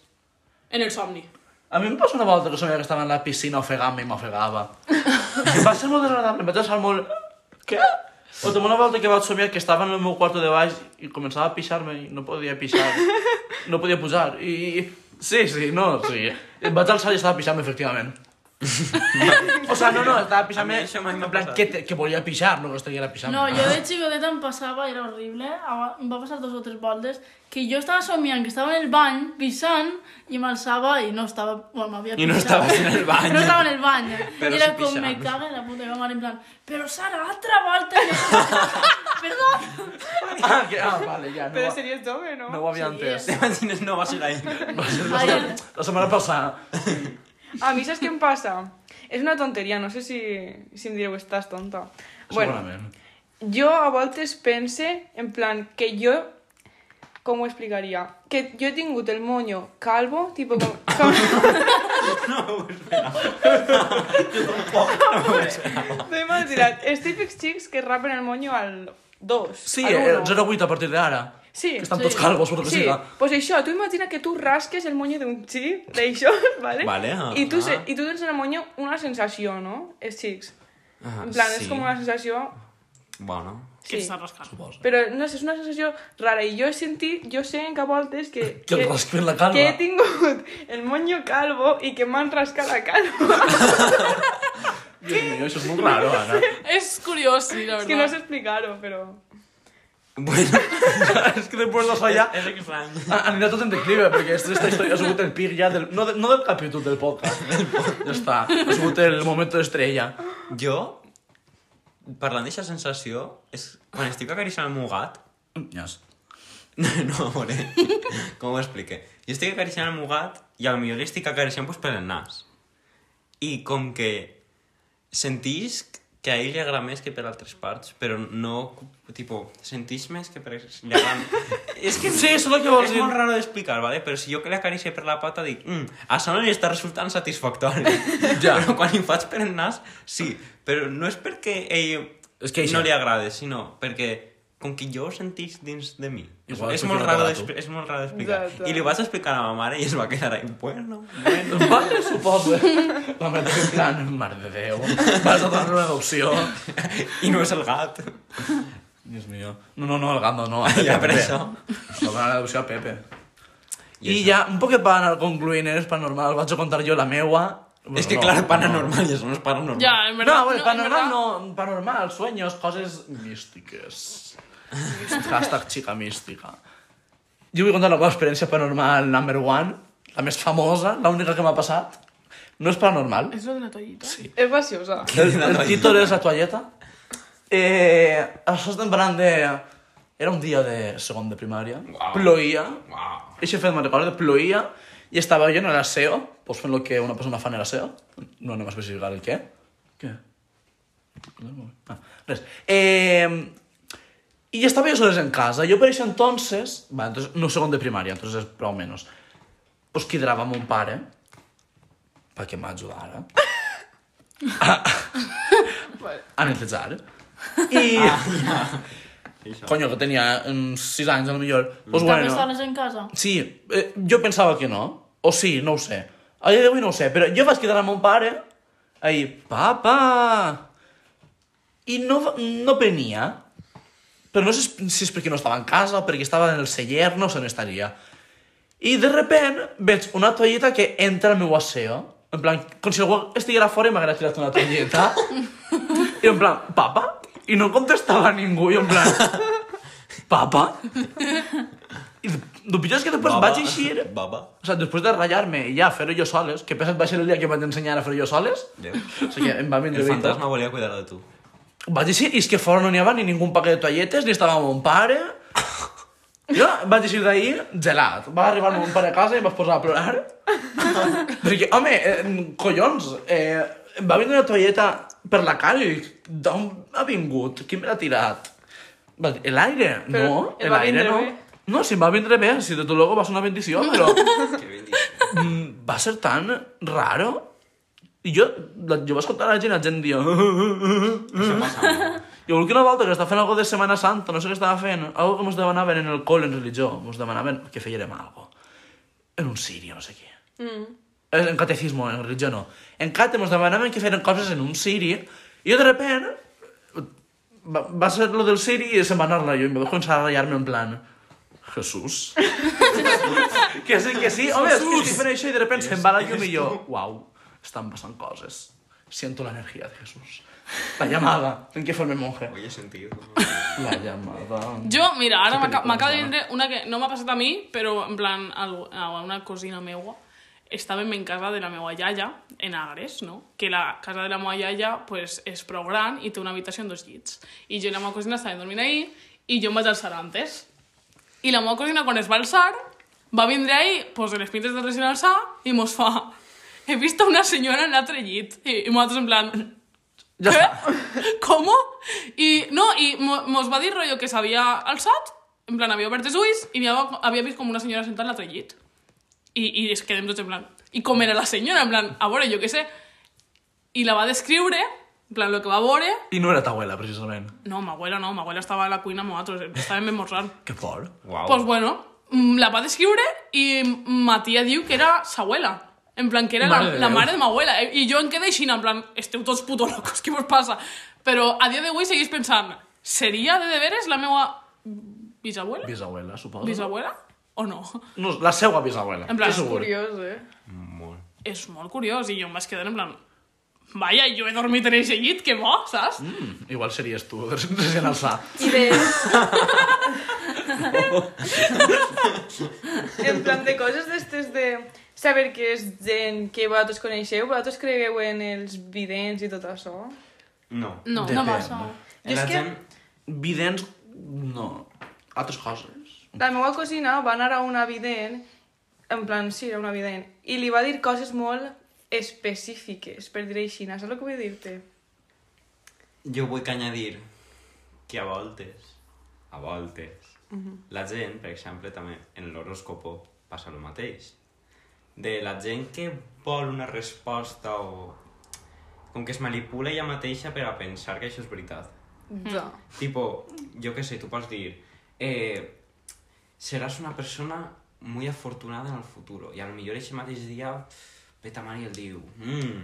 Speaker 3: En el somni.
Speaker 2: A mi em passa una volta que somiava que estava en la piscina ofegant-me i m'ofegava. va ser molt desagradable, em vaig deixar molt... Què? O també una volta que vaig somiar que estava en el meu quarto de baix i començava a pixar-me i no podia pixar. No podia pujar. I... Sí, sí, no, sí. Em vaig alçar i estava pixant-me,
Speaker 5: <laughs>
Speaker 2: efectivament. o sea, no, no, estava
Speaker 5: A
Speaker 2: pixant-me
Speaker 5: mi això mai m'ha
Speaker 2: en plan
Speaker 5: passat.
Speaker 2: que, te- que volia pixar, no que estiguera pixant.
Speaker 4: No, yo de chiquiteta me pasaba, era horrible, ama- me va a pasar dos o tres baldes, que yo estaba soñando, que estaba en el baño, pisando, y me alzaba y no estaba, bueno, me había
Speaker 5: I no
Speaker 4: pisado.
Speaker 5: estaves en
Speaker 4: <laughs>
Speaker 5: el baño.
Speaker 4: No estaba en el baño.
Speaker 5: Pero
Speaker 4: y
Speaker 5: sí
Speaker 4: era como,
Speaker 5: pisando.
Speaker 4: me caga en la puta cámara, en plan, pero Sara, otra balda. Y yo, <laughs> Perdón.
Speaker 2: <laughs> Ah, que, ah, vale, ja, no,
Speaker 1: Però
Speaker 2: ho-
Speaker 1: series jove, no?
Speaker 2: no ho havia entès.
Speaker 5: <laughs> T'imagines no va ser ahir.
Speaker 4: Ay,
Speaker 2: La setmana passada.
Speaker 1: A mi saps què em passa? És una tonteria, no sé si, si em direu estàs tonta. Bueno,
Speaker 2: Segurament.
Speaker 1: jo a voltes pense, en plan, que jo... Com ho explicaria? Que jo he tingut el moño calvo, tipo
Speaker 2: <laughs>
Speaker 1: com... com... T'ho he imaginat. Els típics xics que rapen el moño al 2.
Speaker 2: Sí, eh,
Speaker 1: al
Speaker 5: eh,
Speaker 2: el
Speaker 1: uno.
Speaker 2: 08 a partir d'ara.
Speaker 1: Sí,
Speaker 2: que estan
Speaker 1: sí.
Speaker 2: tots calvos, per lo que
Speaker 1: Sí,
Speaker 2: siga.
Speaker 1: pues això, tu imagina que tu rasques el moño d'un xic, d'això, <laughs> ¿vale?
Speaker 5: Vale, ah,
Speaker 1: I tu, se,
Speaker 5: ah.
Speaker 1: I tu tens en el moño una sensació, no? Els xics.
Speaker 2: Ah,
Speaker 1: En plan, és com una sensació...
Speaker 5: Ah, Bueno. <laughs>
Speaker 3: Que
Speaker 1: Sí.
Speaker 3: s'està rascant.
Speaker 1: Però no sé, és una sensació rara i jo he sentit, jo sé en cap voltes que...
Speaker 2: Que el rasquen la calva.
Speaker 1: Que he tingut el moño calvo i que m'han rascat la calva.
Speaker 2: Dios mío, això és molt raro, Anna.
Speaker 3: És curiós, sí, la
Speaker 1: És que no
Speaker 3: veritat.
Speaker 1: sé explicar-ho, però...
Speaker 5: Bueno,
Speaker 2: és que després d'això ja
Speaker 5: és estrany.
Speaker 2: ha- anirà tot en declive, perquè aquesta, esta història ha sigut el pic ja del... No, de, no del capítol del podcast. ja està, ha sigut el moment estrella.
Speaker 5: Jo, parlant d'aquesta sensació, és quan <laughs> estic acariciant el meu gat,
Speaker 2: Yes.
Speaker 5: No, amore. Com ho explique? jo estic acariciant el meu gat i a lo millor l'estic acariciant pues, per el nas. I com que sentís que a ell li agrada més que per altres parts, però no, tipo, sentís més que per... Li agrada... és que
Speaker 2: Sí, és el que vols
Speaker 5: és
Speaker 2: dir.
Speaker 5: molt raro d'explicar, ¿vale? però si jo que l'acaricie per la pata dic mm, a Sano li està resultant
Speaker 2: <laughs>
Speaker 5: satisfactori.
Speaker 2: Ja.
Speaker 5: Però quan li faig per el nas, sí. Però no és perquè ell
Speaker 2: És que això-
Speaker 5: no li agrada, sinó perquè com que jo ho sentís dins de mi.
Speaker 2: Igual,
Speaker 5: és,
Speaker 2: perquè
Speaker 5: molt
Speaker 2: no
Speaker 5: raro
Speaker 2: t'agrada a tu.
Speaker 5: d'expli- és molt raro d'explicar.
Speaker 1: Exacte.
Speaker 5: I li vas explicar a ma mare i es va quedar ahí,
Speaker 2: <laughs>
Speaker 5: bueno, bueno.
Speaker 2: Vale, <laughs> suposa. La mare en plan, mare de Déu, vas a donar una adopció.
Speaker 5: I no és el gat.
Speaker 2: Dios mío. No, no, no, el gando
Speaker 5: <laughs>
Speaker 2: no. a
Speaker 5: Ja, per
Speaker 2: Pepe.
Speaker 5: això.
Speaker 2: Va donar una adopció a Pepe.
Speaker 5: I
Speaker 2: I,
Speaker 5: això.
Speaker 2: ja, un poquet van al concluint, és paranormal, vaig a contar jo la meua. Bueno,
Speaker 5: és que,
Speaker 2: no,
Speaker 5: clar,
Speaker 2: no.
Speaker 5: paranormal, ja no és paranormal. <laughs>
Speaker 3: Ya, en verdad.
Speaker 2: No, bueno,
Speaker 3: en
Speaker 2: paranormal
Speaker 3: verdad-
Speaker 2: no, paranormal, sueños, coses místiques. Hashtag chica mística. Jo vull contar la meva experiència paranormal number one, la més famosa, l'única que m'ha passat. No és paranormal.
Speaker 3: ¿Es lo de la toallita? Sí.
Speaker 1: És graciosa.
Speaker 2: El,
Speaker 5: <laughs>
Speaker 2: el títol és la toalleta. Eh, això estem parlant de... Era un dia de segon de primària.
Speaker 5: Uau.
Speaker 2: Ploïa.
Speaker 5: Uau.
Speaker 2: Eixe fet me'n recordo, ploïa. I estava jo en la SEO, pues fent el que una persona fa en la SEO. No anem a especificar el què. Què? Ah, res. Eh, y estaba yo solos en casa. Yo por eso entonces... Va, entonces no segon de primaria, entonces prou menos. Pues quedava mon pare perquè m'ajudara
Speaker 4: <laughs>
Speaker 2: Ah, <laughs> a, a netejar. I,
Speaker 4: Ah.
Speaker 5: Això.
Speaker 2: <laughs> coño, que tenia 6 anys, a lo millor. Pues
Speaker 4: També
Speaker 2: bueno,
Speaker 4: estaves en casa?
Speaker 2: Sí, eh, jo pensava que no. O sí, no ho sé. A dia d'avui no ho sé, però jo vaig quedar amb mon pare ahir, papa! I no, va- no venia. Però no sé si- si és perquè no estava en casa o perquè estava en el celler, no sé on estaria. I de repent veig una toalleta que entra al meu asseo. En plan, com si algú estiguera fora i m'haguera tirat una toalleta. I en plan, papa? I no contestava ningú. I en plan, papa? I el pitjor és que després
Speaker 5: Baba.
Speaker 2: vaig eixir...
Speaker 5: Baba.
Speaker 2: O sigui, després de ratllar-me i ja fer-ho jo soles, que pesat va ser el dia que vaig ensenyar a fer-ho jo soles,
Speaker 5: Déu.
Speaker 2: o sigui, em va vindre
Speaker 5: El
Speaker 2: bé i tot.
Speaker 5: fantasma volia cuidar <laughs> de tu.
Speaker 2: Vaig dir, i és que fora no n'hi havia ni ningú paquet de toalletes, ni estava mon
Speaker 1: <laughs>
Speaker 2: pare. Jo vaig deixar d'ahir gelat. Va arribar mon pare a casa i em vaig posar a plorar. Perquè, home, eh, collons, eh, em va vindre una toalleta per la cara i dic, d'on ha vingut? Qui me l'ha tirat? Va dir, l'aire?
Speaker 1: Però
Speaker 2: No,
Speaker 1: et va
Speaker 2: l'aire
Speaker 1: vindre
Speaker 2: no.
Speaker 1: bé.
Speaker 2: No, si em va vindre bé, si de tot logo va ser una bendició,
Speaker 1: <laughs>
Speaker 2: però...
Speaker 5: Que bendició.
Speaker 2: Mm, va ser tan raro. I jo, la, jo vaig contar a la gent, la gent "Uh, dia...
Speaker 5: Això passa molt.
Speaker 2: Jo volia una volta que estava fent alguna de Semana Santa, no sé què estava fent, algo que mos demanaven en el col, en religió, mos demanaven que fèiem algo. En un sirio, no sé què. Mm. En catecismo, en religió no. En cate mos demanaven que feren coses en un siri, i jo de repent va, va ser lo del siri i se'n va anar la jo, i em va començar a ratllar-me en plan... Jesús. <laughs> que sí, que sí, home, és que estic fent això i de repent se'n va la llum i jo, uau, estan passant coses. Siento la energia de Jesús. La llamada. En què forme monje?
Speaker 5: Ho he sentit.
Speaker 2: La llamada.
Speaker 3: Yo, mira,
Speaker 2: Sí,
Speaker 3: ahora me
Speaker 2: pero
Speaker 3: acaba
Speaker 2: ¿cómo se
Speaker 3: de venir una que no me ha pasado a mí, pero en plan algo- a una cosina megua. Estaba en casa de la megua yaya, en Agres, ¿no? Que la casa de la megua yaya, pues, es pro gran y tiene una habitación dos llits. Y yo y la meva cosina estaven dormint ahí y yo em vaig alçar antes. I la meva cosina, quan es va alçar, va vindre ahir, pues, de les pintes de recién alçar, i mos fa... He visto una senyora en l'altre llit. I, i nosaltres, en plan...
Speaker 2: Ja està.
Speaker 3: ¿Qué? <laughs> ¿Cómo? Y no, y mo- mos va dir rollo que sabía al SAT, en plan, había obert els ulls i n'hi havia, havia vist com una senyora sentada en l'altre llit. I, I es quedem tots en plan, i com era la senyora? En plan, a veure, jo què sé. I la va descriure, en plan, lo que va veure...
Speaker 2: I no era ta abuela, precisament.
Speaker 3: No, ma abuela no, ma abuela estava a la cuina amb nosaltres, estàvem esmorzant.
Speaker 2: Que por.
Speaker 5: Uau.
Speaker 3: Pues bueno, mm, la va descriure i ma tia diu que era sa abuela. En plan, que era
Speaker 2: Mare
Speaker 3: la,
Speaker 2: de
Speaker 3: la
Speaker 2: Déu.
Speaker 3: mare de ma abuela. Eh, I jo en quedé aixina, en plan, esteu tots puto locos, <laughs> què vos passa? Però a dia d'avui seguís pensant, seria de deberes la meua bisabuela?
Speaker 2: Bisabuela, suposo.
Speaker 3: Bisabuela? O no?
Speaker 2: No, la seua bisabuela.
Speaker 3: En plan,
Speaker 2: que segur.
Speaker 1: Curiós, eh?
Speaker 5: Molt.
Speaker 3: És molt curiós i jo em vaig quedar en plan, vaya, jo he dormit en aquest llit, que bo, saps?
Speaker 2: Mm, igual series tu, <laughs> recent alçar.
Speaker 1: I de... <laughs> en plan de coses d'estes de saber que és gent que vosaltres coneixeu, vosaltres cregueu en els vidents i tot això?
Speaker 5: No.
Speaker 4: No,
Speaker 2: Depèn.
Speaker 4: no passa.
Speaker 1: Jo és
Speaker 5: La
Speaker 1: que
Speaker 5: gent...
Speaker 2: Vidents, no. Altres coses.
Speaker 1: la meva cosina va anar a una vident en plan, sí, era una evident, i li va dir coses molt específiques, per dir així, saps el que vull dir-te?
Speaker 5: Mm. Jo vull que añadir que a voltes, a voltes, la gent, per exemple, també en l'horòscopo passa el mateix. De la gent que vol una resposta o... Com que es manipula ella mateixa per a pensar que això és veritat.
Speaker 1: Ja.
Speaker 5: Tipo, yo qué sé, tú puedes decir, eh, serás una persona muy afortunada en el futuro. Y a lo mejor ese mateix dia, peta mal i el diu, mm,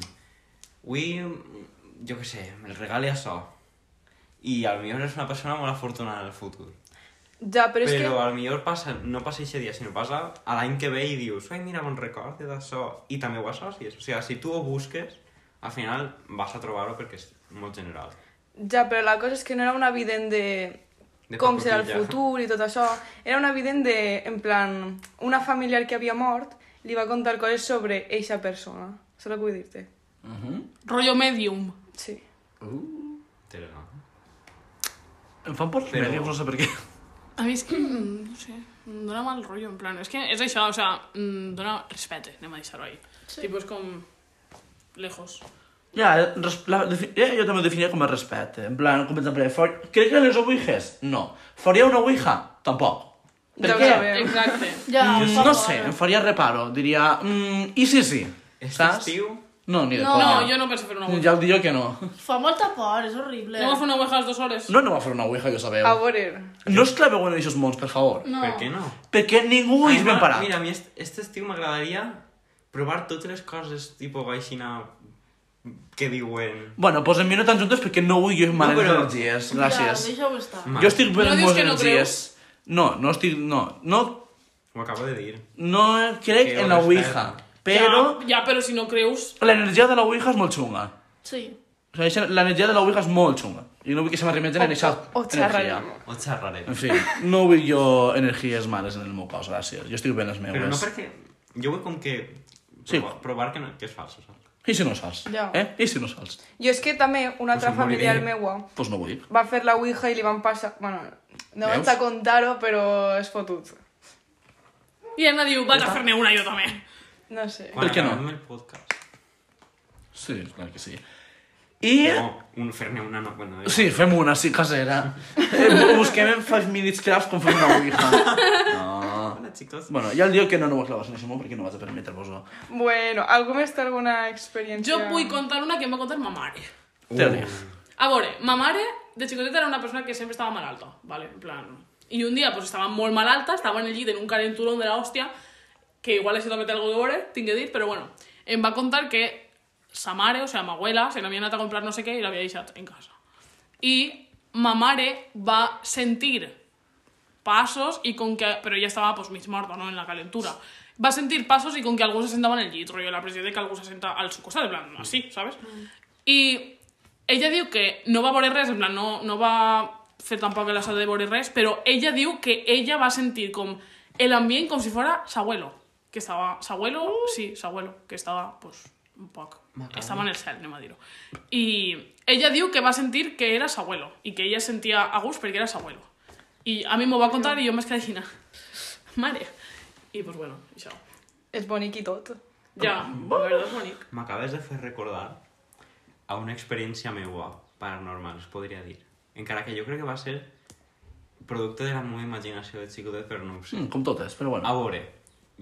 Speaker 5: avui, mm, jo què sé, el regale això. I a lo mejor és una persona molt afortunada en el futur.
Speaker 1: Ja, però,
Speaker 5: Però,
Speaker 1: és
Speaker 5: Però
Speaker 1: que...
Speaker 5: a lo mejor passa, no passa aquest dia, sinó passa a l'any que ve i dius, ai, mira, me'n recorde d'això. I també ho associes. O sigui, si tu ho busques, al final vas a trobar-ho perquè és molt general.
Speaker 1: Ja, però la cosa és que no era una evident de,
Speaker 5: De
Speaker 1: com serà el
Speaker 5: pacotilla.
Speaker 1: futur i tot això. Era una evident de, en plan, una familiar que havia mort li va contar coses sobre eixa persona. Saps el que vull dir-te?
Speaker 2: Mhm.
Speaker 3: Rollo medium.
Speaker 1: Sí.
Speaker 5: Interessant.
Speaker 2: Em fan por
Speaker 5: Però-
Speaker 2: Però... no sé per què.
Speaker 3: A mi és que, mm, no sé, em dóna mal rotllo, en plan, és que és això, o sea, em dóna respecte, anem a deixar-ho ahí. Sí. Tipo, és com... lejos.
Speaker 2: <laughs> Ja, res- la, defi- ja, jo també ho definia com a respecte. En plan, com per exemple, for, crec que les ouijas? No. Faria una ouija? Tampoc. Per
Speaker 1: Ja ho
Speaker 2: què?
Speaker 1: sabem.
Speaker 3: Exacte.
Speaker 4: Ja,
Speaker 2: Mm,
Speaker 4: fa
Speaker 2: no
Speaker 4: por,
Speaker 2: sé,
Speaker 4: eh?
Speaker 2: em faria reparo. Diria, mm, i sí, sí.
Speaker 5: Este
Speaker 2: Saps?
Speaker 5: estiu
Speaker 2: No, ni de
Speaker 4: No,
Speaker 2: conya.
Speaker 3: No, jo no penso fer una
Speaker 2: Mm,
Speaker 3: ouija.
Speaker 2: Ja el diré que no.
Speaker 4: Fa molta por, és horrible.
Speaker 3: No vas fer una ouija a les dues hores?
Speaker 2: No, no va fer una ouija, jo sabeu.
Speaker 1: A veure,
Speaker 2: No es claveu en aquests mons, per favor.
Speaker 4: No.
Speaker 5: Per què no?
Speaker 2: Perquè ningú
Speaker 5: Ai,
Speaker 2: és ben
Speaker 5: ma-
Speaker 2: parat.
Speaker 5: Mira, a mi est- este estiu m'agradaria provar totes les coses, tipo, aixina, que diuen...
Speaker 2: Bueno, pues a mi no tan juntes perquè no vull jo males
Speaker 5: No, però-
Speaker 2: energies.
Speaker 4: Ja,
Speaker 2: Gràcies.
Speaker 4: deixa-ho estar.
Speaker 5: Ma,
Speaker 2: jo estic bé
Speaker 3: No
Speaker 2: amb
Speaker 3: dius
Speaker 2: males
Speaker 3: que no
Speaker 2: energies. No, no estic... No, no,
Speaker 5: Ho acabo de dir.
Speaker 2: no crec
Speaker 5: Que
Speaker 2: en la
Speaker 5: hores
Speaker 2: Ouija. Però
Speaker 3: Ja, ja, però si no creus...
Speaker 2: l'energia de la Ouija és molt xunga.
Speaker 4: Sí. <laughs>
Speaker 2: O sigui, això- l'energia de la Ouija és molt xunga. I no vull que se m'arrimenten en aquesta
Speaker 1: o xerrarem.
Speaker 2: energia.
Speaker 5: O xerrarem.
Speaker 2: En fi, no vull jo energies males en el meu cos, gràcies. Jo estic bé en les meves.
Speaker 5: Però no perquè... Jo vull com que...
Speaker 2: Sí.
Speaker 5: Provar, provar que, no, que és falso, saps?
Speaker 2: I si no saps?
Speaker 1: Ja.
Speaker 2: Eh? I si no saps?
Speaker 1: Jo és que també una altra
Speaker 5: em
Speaker 1: familiar
Speaker 5: moriré.
Speaker 1: meua
Speaker 2: Doncs pues no vull.
Speaker 1: va fer la Ouija i li van passar... Bueno, no
Speaker 2: Veus?
Speaker 1: vaig a contar-ho, però és fotut.
Speaker 3: I Anna diu, vaig a fer-ne una jo també.
Speaker 1: No sé.
Speaker 5: Quan
Speaker 2: què no?
Speaker 5: acabem el podcast.
Speaker 2: Sí, clar que sí. I...
Speaker 5: No, un, fer-ne una no... Bueno,
Speaker 2: Sí, fem una, sí, casera. Eh, Busquem en 5 minutes craft com fem una ouija. No.
Speaker 5: Hola, chicos.
Speaker 2: Bueno, ja el dia que no, no ho aclaves en això perquè no vas a permetre-vos-ho.
Speaker 1: Bueno, algú més té alguna experiència?
Speaker 3: Jo vull contar una que em va contar ma mare.
Speaker 5: Uh.
Speaker 2: Tele.
Speaker 3: A veure, ma mare de xicoteta era una persona que sempre estava malalta, vale? en plan... I un dia pues, estava molt malalta, estava en el llit en un calenturón de la hòstia, que igual això també té alguna cosa a veure, tinc que dir, però bueno, em va contar que sa mare, o sigui, ma abuela, se n'havia anat a comprar no sé què i l'havia deixat en casa. I ma mare va sentir passos i com que... Però ja estava pues, mig morta, no?, en la calentura. Va sentir passos i com que algú s'assentava en el llit, rotllo, la pressió de que algú s'assenta al seu costat, en plan, així, saps? I ella diu que no va veure res, en plan, no, no va fer tampoc la sal de veure res, però ella diu que ella va sentir com l'ambient com si fora s'abuelo, que estava... S'abuelo? Sí, s'abuelo, que estava, pues, un poc... Estava en el cel, anem a dir-ho. I ella diu que va sentir que era s'abuelo i que ella es sentia a gust perquè era s'abuelo. I a mi m'ho va contar i jo em m'es quedé aixina. Mare. I, pues, bueno, això.
Speaker 1: És bonic i tot.
Speaker 3: Ja, la veritat és bonic.
Speaker 5: M'acabes de fer recordar a una experiència meua paranormal, es podria dir. Encara que jo crec que va ser producte de la meva imaginació de ¿eh? xicotet, però no ho sé.
Speaker 2: Mm, com totes, però
Speaker 5: A
Speaker 2: bueno.
Speaker 5: veure,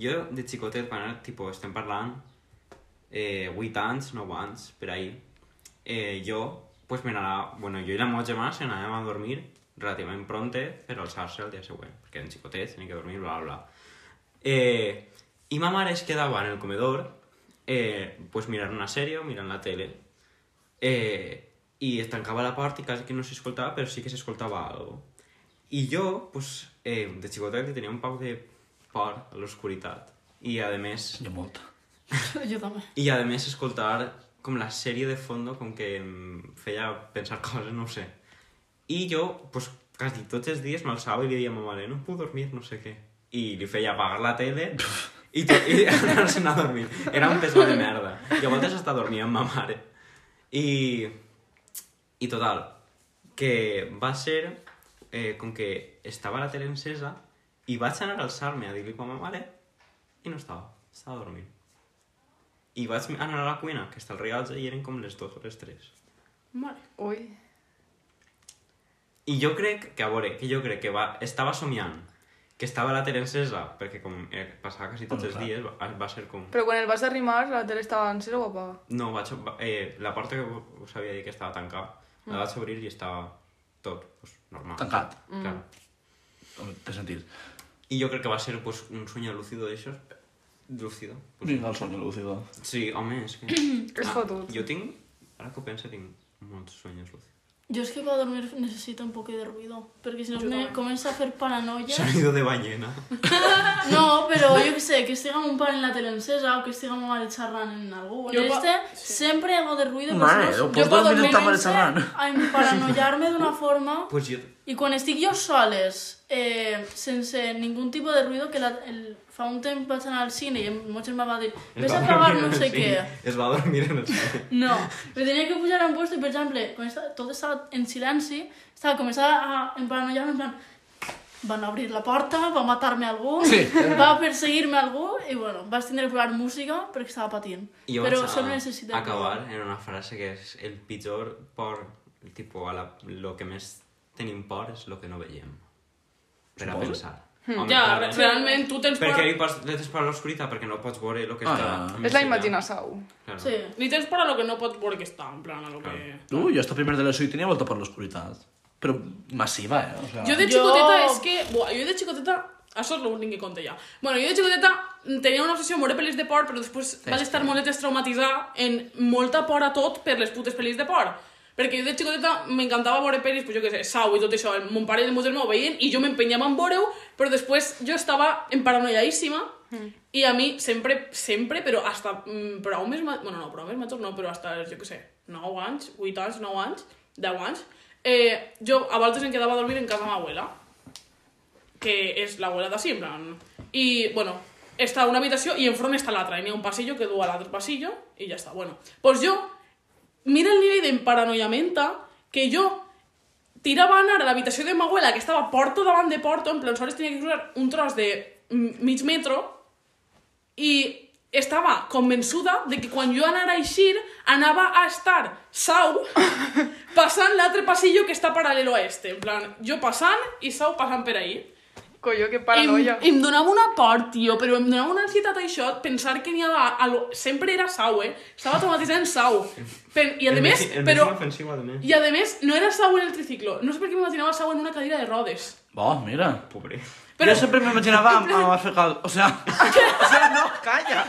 Speaker 5: jo de xicotet, quan era, tipo, estem parlant eh, 8 anys, 9 anys, per ahí, eh, jo, pues me n'anava, bueno, jo i la meva gemma se n'anàvem a dormir relativament pronte per alçar-se el dia següent, perquè eren xicotets, tenien que dormir, bla, bla, bla. Eh, I ma mare es quedava en el comedor, eh, pues mirant una sèrie o mirant la tele. Eh, I es tancava la porta i quasi que no s'escoltava, però sí que s'escoltava algo. I jo, pues, eh, de xicotet, li tenia un poc de por a l'oscuritat. I, a més,
Speaker 2: Jo molta.
Speaker 4: Jo també.
Speaker 5: i a més escoltar com la sèrie de fondo com que em feia pensar coses, no ho sé. I jo, pues, quasi tots els dies m'alçava i li deia a ma mare, no puc dormir, no sé què. I li feia apagar la tele i, to- i <laughs> anar-se'n a dormir. Era un peso de merda. I a voltes hasta dormia amb ma mare. I... I total, que va ser eh, com que estava la tele encesa i vaig anar a alçar-me a dir-li a ma mare I no estava, estava dormint. I vaig anar a la cuina, que està al rellotge, i eren com les dues o les tres.
Speaker 3: Vale.
Speaker 1: Ui.
Speaker 5: I jo crec que, a veure, que jo crec que va, estava somiant, que estava la Terencesa, perquè com eh, passava quasi tots
Speaker 2: Home,
Speaker 5: els
Speaker 2: clar.
Speaker 5: dies, va, va ser com...
Speaker 1: Però quan el vas arrimar, la tele estava encesa o apagada?
Speaker 5: No, vaig, va- eh, la porta que us havia dit que estava tancada,
Speaker 1: Mm.
Speaker 5: la vaig obrir i estava tot pues, normal.
Speaker 2: Tancat.
Speaker 5: Mm. Clar.
Speaker 2: Té sentit.
Speaker 5: I jo crec que va ser pues, un sueño lúcido d'aixòs. Lúcido. Pues,
Speaker 2: Vinga, el somni lúcido.
Speaker 5: Sí, home, és que...
Speaker 1: <clears throat>
Speaker 5: Ah,
Speaker 1: És fotut.
Speaker 5: Jo tinc... Ara que ho penso, tinc molts sueños lúcidos.
Speaker 4: Yo es que para dormir necesito un poco de ruido, porque si no
Speaker 3: Yo
Speaker 4: me
Speaker 3: también.
Speaker 4: comienza a hacer paranoia.
Speaker 5: Sonido de ballena.
Speaker 4: No, pero yo qué sé, que siga un pan en la tele encesa o que siga mal charran en algo.
Speaker 3: Yo
Speaker 4: en
Speaker 3: pa-
Speaker 4: este siempre hago de ruido.
Speaker 2: Mare,
Speaker 4: porque si no,
Speaker 2: Déu, pots
Speaker 4: puedo
Speaker 2: pues dormir en
Speaker 4: començar
Speaker 2: Tamara Serrano.
Speaker 4: A
Speaker 2: <laughs>
Speaker 4: emparanoiar-me d'una forma
Speaker 5: pues jo...
Speaker 4: i quan estic jo soles, eh, sense ningún tipo de ruido, que la, el, fa un temps vaig anar al cine i mon germà va dir
Speaker 5: es
Speaker 4: ves
Speaker 5: va
Speaker 4: a cagar
Speaker 5: <laughs> dormir en
Speaker 4: no
Speaker 5: el
Speaker 4: sé
Speaker 5: cine.
Speaker 4: què.
Speaker 5: Es va dormir en el cine.
Speaker 4: No, me tenia que pujar a un lloc i, per exemple, quan esta- tot estava en silenci, estava començant a emparanoiar-me, en plan, van obrir la porta, va matar-me algú,
Speaker 2: Sí.
Speaker 4: va perseguir-me algú, i bueno, vaig tindre que posar música perquè estava patint.
Speaker 5: I jo
Speaker 4: Però
Speaker 5: vaig a-
Speaker 4: solo necessitava...
Speaker 5: acabar en una frase que és el pitjor por, tipo, a la, lo que més tenim por és lo que no veiem. Per a
Speaker 2: Suposo.
Speaker 5: pensar.
Speaker 4: Hm,
Speaker 3: Ja,
Speaker 5: clar, eh?
Speaker 3: realment, tu tens por...
Speaker 5: Perquè li pots, li tens por a l'oscuritat, perquè no pots veure el que
Speaker 2: Ah,
Speaker 5: està...
Speaker 2: ja.
Speaker 5: més
Speaker 1: És la
Speaker 5: allà.
Speaker 1: imaginació.
Speaker 5: Claro.
Speaker 4: Sí.
Speaker 3: Li tens por a lo que no pots veure que està, en plan, a lo que...
Speaker 5: Claro.
Speaker 2: Uh, jo esta primer de l'ESO hi tenia volta per l'oscuritat. Però massiva, eh? O sea,
Speaker 3: Jo de
Speaker 4: Jo-
Speaker 3: xicoteta és que... Buah, jo de xicoteta... Això és l'únic que conta ja. Bueno, jo de xicoteta tenia una obsessió a veure pel·lis de por, però després vaig estar molt traumatitzada en molta por a tot per les putes pel·lis de por. Perquè jo de xicoteta m'encantava veure pel·lis, pues, jo què sé, Sau i tot això, el mon pare i el meu germà ho veien i jo m'empenyava en veure-ho, però després jo estava emparanoiaíssima i a mi sempre, sempre, però hasta mm, prou més... ma- Bueno, no, prou més major no, però hasta, jo què sé, 9 anys, 8 anys, 9 anys, 10 anys, eh, jo a voltes em quedava a dormir en casa de ma abuela que és l'abuela d'ací, en plan... I, bueno, està una habitació i enfront està l'altra, i n'hi ha un passillo que du a l'altre passillo i ja està, bueno. Doncs pues jo, mira el nivell d'emparanoiamenta que jo tirava a anar a l'habitació de ma abuela, que estava porto davant de porto, en plan, sols tenia que cruzar un tros de m- mig metro, i estava convençuda de que quan jo anara a eixir, anava a estar sau passant l'altre passillo que està paral·lel a este. En plan, jo passant i sau passant per ahir.
Speaker 1: Colló, que paranoia.
Speaker 3: Em, em donava una por, tio, però em donava una ansietat això, pensar que n'hi havia... A lo... Sempre era sau, eh? Estava traumatitzant sau. Pen... I a
Speaker 5: El
Speaker 3: més,
Speaker 5: el
Speaker 3: però...
Speaker 5: més inofensiu, a més.
Speaker 3: I a més, no era sau en el triciclo. No sé per què m'imaginava sau en una cadira de rodes.
Speaker 2: Bo, mira.
Speaker 5: Pobre.
Speaker 2: Però... Jo sempre <laughs> m'imaginava amb, amb afecal... O sea, <laughs> o sea, no, calla.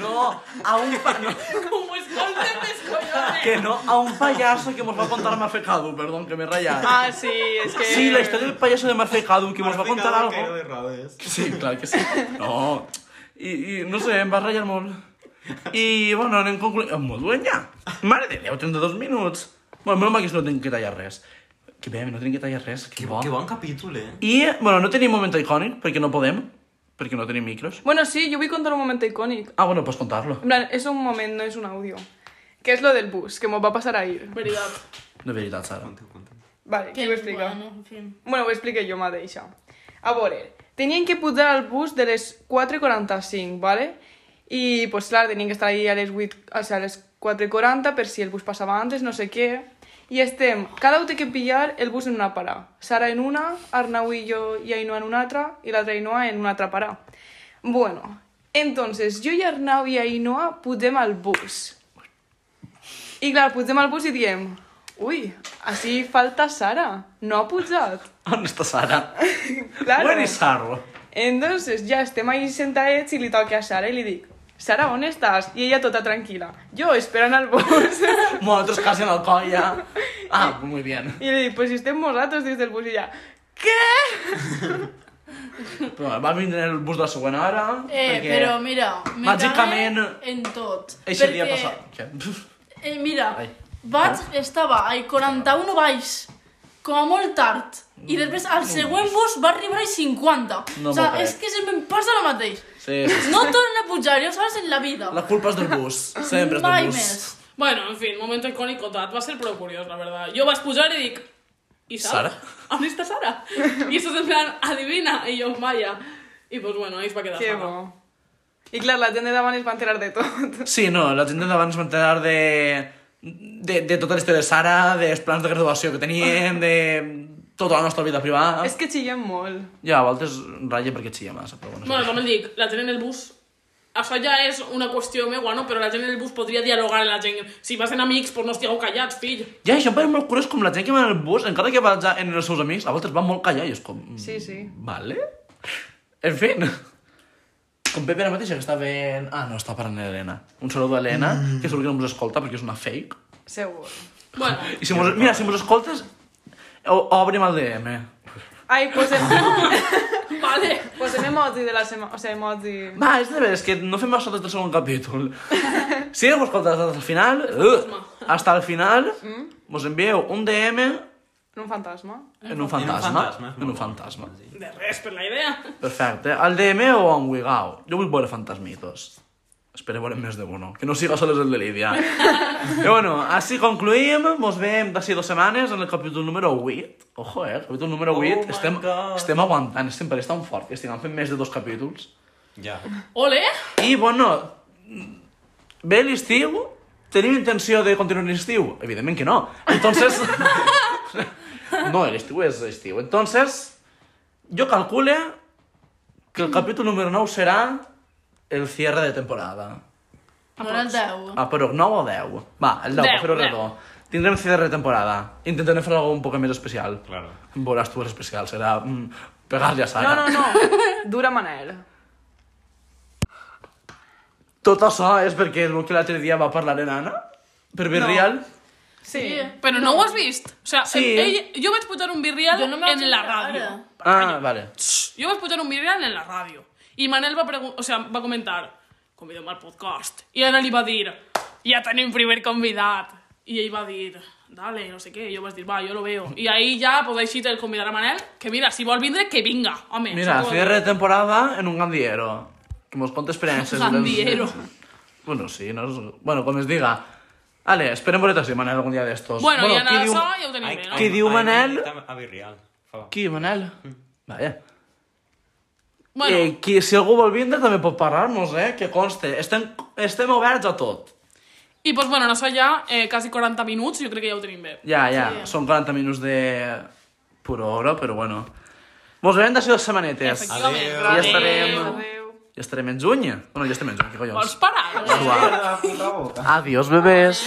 Speaker 2: No, a un, pa... no,
Speaker 3: Com ho escolten més collons.
Speaker 2: que no, a un payaso que mos va contar Marfe Cadu, perdón, que m'he ratllat.
Speaker 1: Ah, sí, és que...
Speaker 2: Sí, la història del payaso de Marfe Cadu, que mos va contar
Speaker 5: M'has
Speaker 2: algo.
Speaker 5: ficat el cairo de rodes.
Speaker 2: Sí, clar que sí. No. I, i no sé, em va ratllar molt. I, bueno, anem concluint. Em molt duenya. Mare de Déu, 32 minuts. Bueno, menys mal que no tinc que tallar res. Que bé, no tenim que tallar res. Que,
Speaker 5: Que,
Speaker 2: bo.
Speaker 5: que bon capítol, eh?
Speaker 2: I, bueno, no tenim moment icònic, perquè no podem, perquè no tenim micros.
Speaker 1: Bueno, sí, jo vull contar un moment icònic.
Speaker 2: Ah, bueno, pots contar-lo.
Speaker 1: En plan, és un moment, no és un àudio. Que és lo del bus, que m'ho va passar ahir.
Speaker 3: Veritat.
Speaker 2: De veritat, Sara.
Speaker 5: Conteu, conteu.
Speaker 1: Vale, qui ho explica?
Speaker 4: Bueno, en fin.
Speaker 1: Bueno, ho explico jo mateixa. A veure, tenien que pujar al bus de les 4.45, ¿vale? I, pues clar, tenien que estar ahí a les 8, o sea, a les 4.40 per si el bus passava antes, no sé què. I estem, cada un té que pillar el bus en una parada. Sara en una, Arnau i jo i Ainhoa en una altra, i l'altra Ainhoa en una altra parada. Bueno, entonces, jo i Arnau i Ainhoa pugem al bus. I clar, pugem al bus i diem, ui, així falta Sara, no ha pujat.
Speaker 2: On està Sara?
Speaker 1: Claro.
Speaker 2: Where is Sara?
Speaker 1: Entonces ya estem ahí sentadets i li toca a Sara i li dic Sara, on estàs? I ella tota tranquil·la. Jo, esperant al bus. <laughs>
Speaker 2: Nosaltres quasi en el coll,
Speaker 4: <laughs>
Speaker 2: ja. Ah, muy bien.
Speaker 1: I li dic, pues estem nosaltres des del bus. I ella, què?
Speaker 2: Però va vindre el bus de la següent hora.
Speaker 4: Eh,
Speaker 2: perquè
Speaker 4: però mira, me
Speaker 2: Màgicament-
Speaker 4: cagué en tot.
Speaker 2: Eixe dia
Speaker 4: perquè-
Speaker 2: passat. Què?
Speaker 4: Eh, mira,
Speaker 2: Ai.
Speaker 4: vaig, estava al 41 baix, com a molt tard, i després al següent bus va arribar al 50.
Speaker 2: Mm. No
Speaker 4: o sigui,
Speaker 2: m'ho
Speaker 4: és
Speaker 2: crec.
Speaker 4: que sempre em passa el mateix.
Speaker 2: Sí, sí,
Speaker 4: No torna a pujar, ja ho saps, en la vida.
Speaker 2: La culpa és del bus. Sempre és
Speaker 4: Mai
Speaker 2: del bus.
Speaker 4: més.
Speaker 3: Bueno, en fi, moment icònic contat. Va ser prou curiós, la veritat. Jo vaig pujar i dic... I Sara?
Speaker 2: Sara?
Speaker 3: <laughs> On està Sara? I estàs en plan, adivina, i jo, Maya. I, doncs, bueno, ahir es va quedar
Speaker 1: Que
Speaker 3: sola.
Speaker 1: bo. I clar, la gent de davant es va enterar de tot.
Speaker 2: Sí, no, la gent d'abans va enterar de, de, de tota la història de Sara, dels plans de graduació que teníem, de tota la nostra vida
Speaker 1: <laughs>
Speaker 2: privada.
Speaker 1: És que xillem molt.
Speaker 2: Ja, a voltes ratlla perquè xilla massa, però bueno.
Speaker 3: Bueno, també et dic, la gent en el bus... Això ja és una qüestió meua, no? Però la gent en el bus podria dialogar amb la gent. Si vas en amics, doncs no estigueu callats, fill.
Speaker 2: Ja, això em pareix molt curiós com la gent que va en el bus, encara que va ja en els seus amics, a voltes va molt callar i és com...
Speaker 1: Sí, sí.
Speaker 2: Vale. En fi. Com Pepe ara mateix que està veient... Ah, no, està parlant d'Helena. Un saludo a Helena,
Speaker 5: Mm.
Speaker 2: que segur que no mos escolta perquè és una fake.
Speaker 1: Segur.
Speaker 3: Bueno,
Speaker 2: I si mos... Mira, si mos escoltes, o- obrim el DM.
Speaker 1: Ai, posem,
Speaker 3: vale.
Speaker 1: posem emoji de la setmana... O sigui, emoji...
Speaker 2: Va, és de veres que no fem això des del segon capítol.
Speaker 5: <laughs>
Speaker 2: Si heu escoltat fins al final, uh, hasta el final,
Speaker 5: Mm.
Speaker 2: mos envieu un DM
Speaker 1: Un fantasma.
Speaker 2: en un fantasma.
Speaker 5: fantasma, és molt
Speaker 2: En un
Speaker 5: bo.
Speaker 2: fantasma.
Speaker 3: De res, per la idea.
Speaker 2: Perfecte. Al DM o a un Wigao. Jo vull veure fantasmitos. Espero veure més de uno. Que no siga sols el de
Speaker 5: <laughs>
Speaker 2: Lídia. I bueno, així concluïm. Mos veiem d'ací dues setmanes en el capítol número 8. Ojo, eh? Capítol número
Speaker 5: Oh
Speaker 2: 8.
Speaker 5: my
Speaker 2: estem,
Speaker 5: God.
Speaker 2: estem aguantant. Estem, perquè és tan fort que estem fent més de dos capítols.
Speaker 5: Ja.
Speaker 3: Ole!
Speaker 2: I, bueno, ve l'estiu. Tenim intenció de continuar l'estiu? Evidentment que no. Entonces... <laughs> no, l'estiu és estiu. Entonces, jo calcule que el capítol número 9 serà el cierre de temporada.
Speaker 4: No era el 10.
Speaker 2: Ah, però 9 o 10? Va, el 10, 10
Speaker 3: Deu,
Speaker 2: per fer-ho
Speaker 3: deu.
Speaker 2: redó. Tindrem cierre de temporada. Intentarem fer alguna un poc més especial.
Speaker 5: Claro.
Speaker 2: Veuràs tu l'especial, serà mm, pegar-li a Sara.
Speaker 1: No, no, no. Dura Manel.
Speaker 2: Tot això és perquè el que l'altre dia va parlar en Anna, per Virreal.
Speaker 1: Sí.
Speaker 3: Però no ho has vist? O sea,
Speaker 2: Sí.
Speaker 3: ell, jo vaig pujar un virreal
Speaker 4: Jo no me vaig
Speaker 3: en la
Speaker 4: enterar.
Speaker 3: ràdio.
Speaker 2: Ah, vale.
Speaker 3: Jo vaig pujar un virreal en la ràdio. I Manel va, pregun- o sea, va comentar, convidem al podcast. I Anna li va dir, ja tenim primer convidat. I ell va dir, dale, no sé què. I jo vaig dir, va, jo lo veo. I ahir ja podeu així el convidar a Manel, que mira, si vol vindre, que vinga, home.
Speaker 2: Mira,
Speaker 3: saps què vol
Speaker 2: cierre de
Speaker 3: dir?
Speaker 2: temporada en un gandiero. Que mos conta experiències. dels-
Speaker 3: Gandiero.
Speaker 2: Bueno, sí, no és... Bueno, com es diga. Vale, esperem veure si Manel algun dia d'estos.
Speaker 3: Bueno, bueno, i
Speaker 2: qui
Speaker 3: anar
Speaker 2: diu...
Speaker 3: diu... ja ho tenim bé, no?
Speaker 2: Qui diu
Speaker 5: ai,
Speaker 2: Manel?
Speaker 5: invita A Virreal. Fa.
Speaker 2: Qui, Manel? Vaja.
Speaker 3: Bueno,
Speaker 2: Eh, qui, si algú vol vindre també pot parlar-nos, eh? Que conste. Estem, estem oberts a tot.
Speaker 3: i doncs, bueno, en això ja, eh, quasi 40 minuts, jo crec que ja ho tenim bé.
Speaker 2: Ja, ja, són 40 minuts de pura hora, però bueno. Mos veiem d'ací dues setmanetes.
Speaker 3: Efectivament. Adéu.
Speaker 2: Ja estarem.
Speaker 1: Adéu.
Speaker 2: Ja estarem en juny. Bueno, ja estem en juny, que collons.
Speaker 3: Vols parar?
Speaker 2: Suar. Adiós, bebès.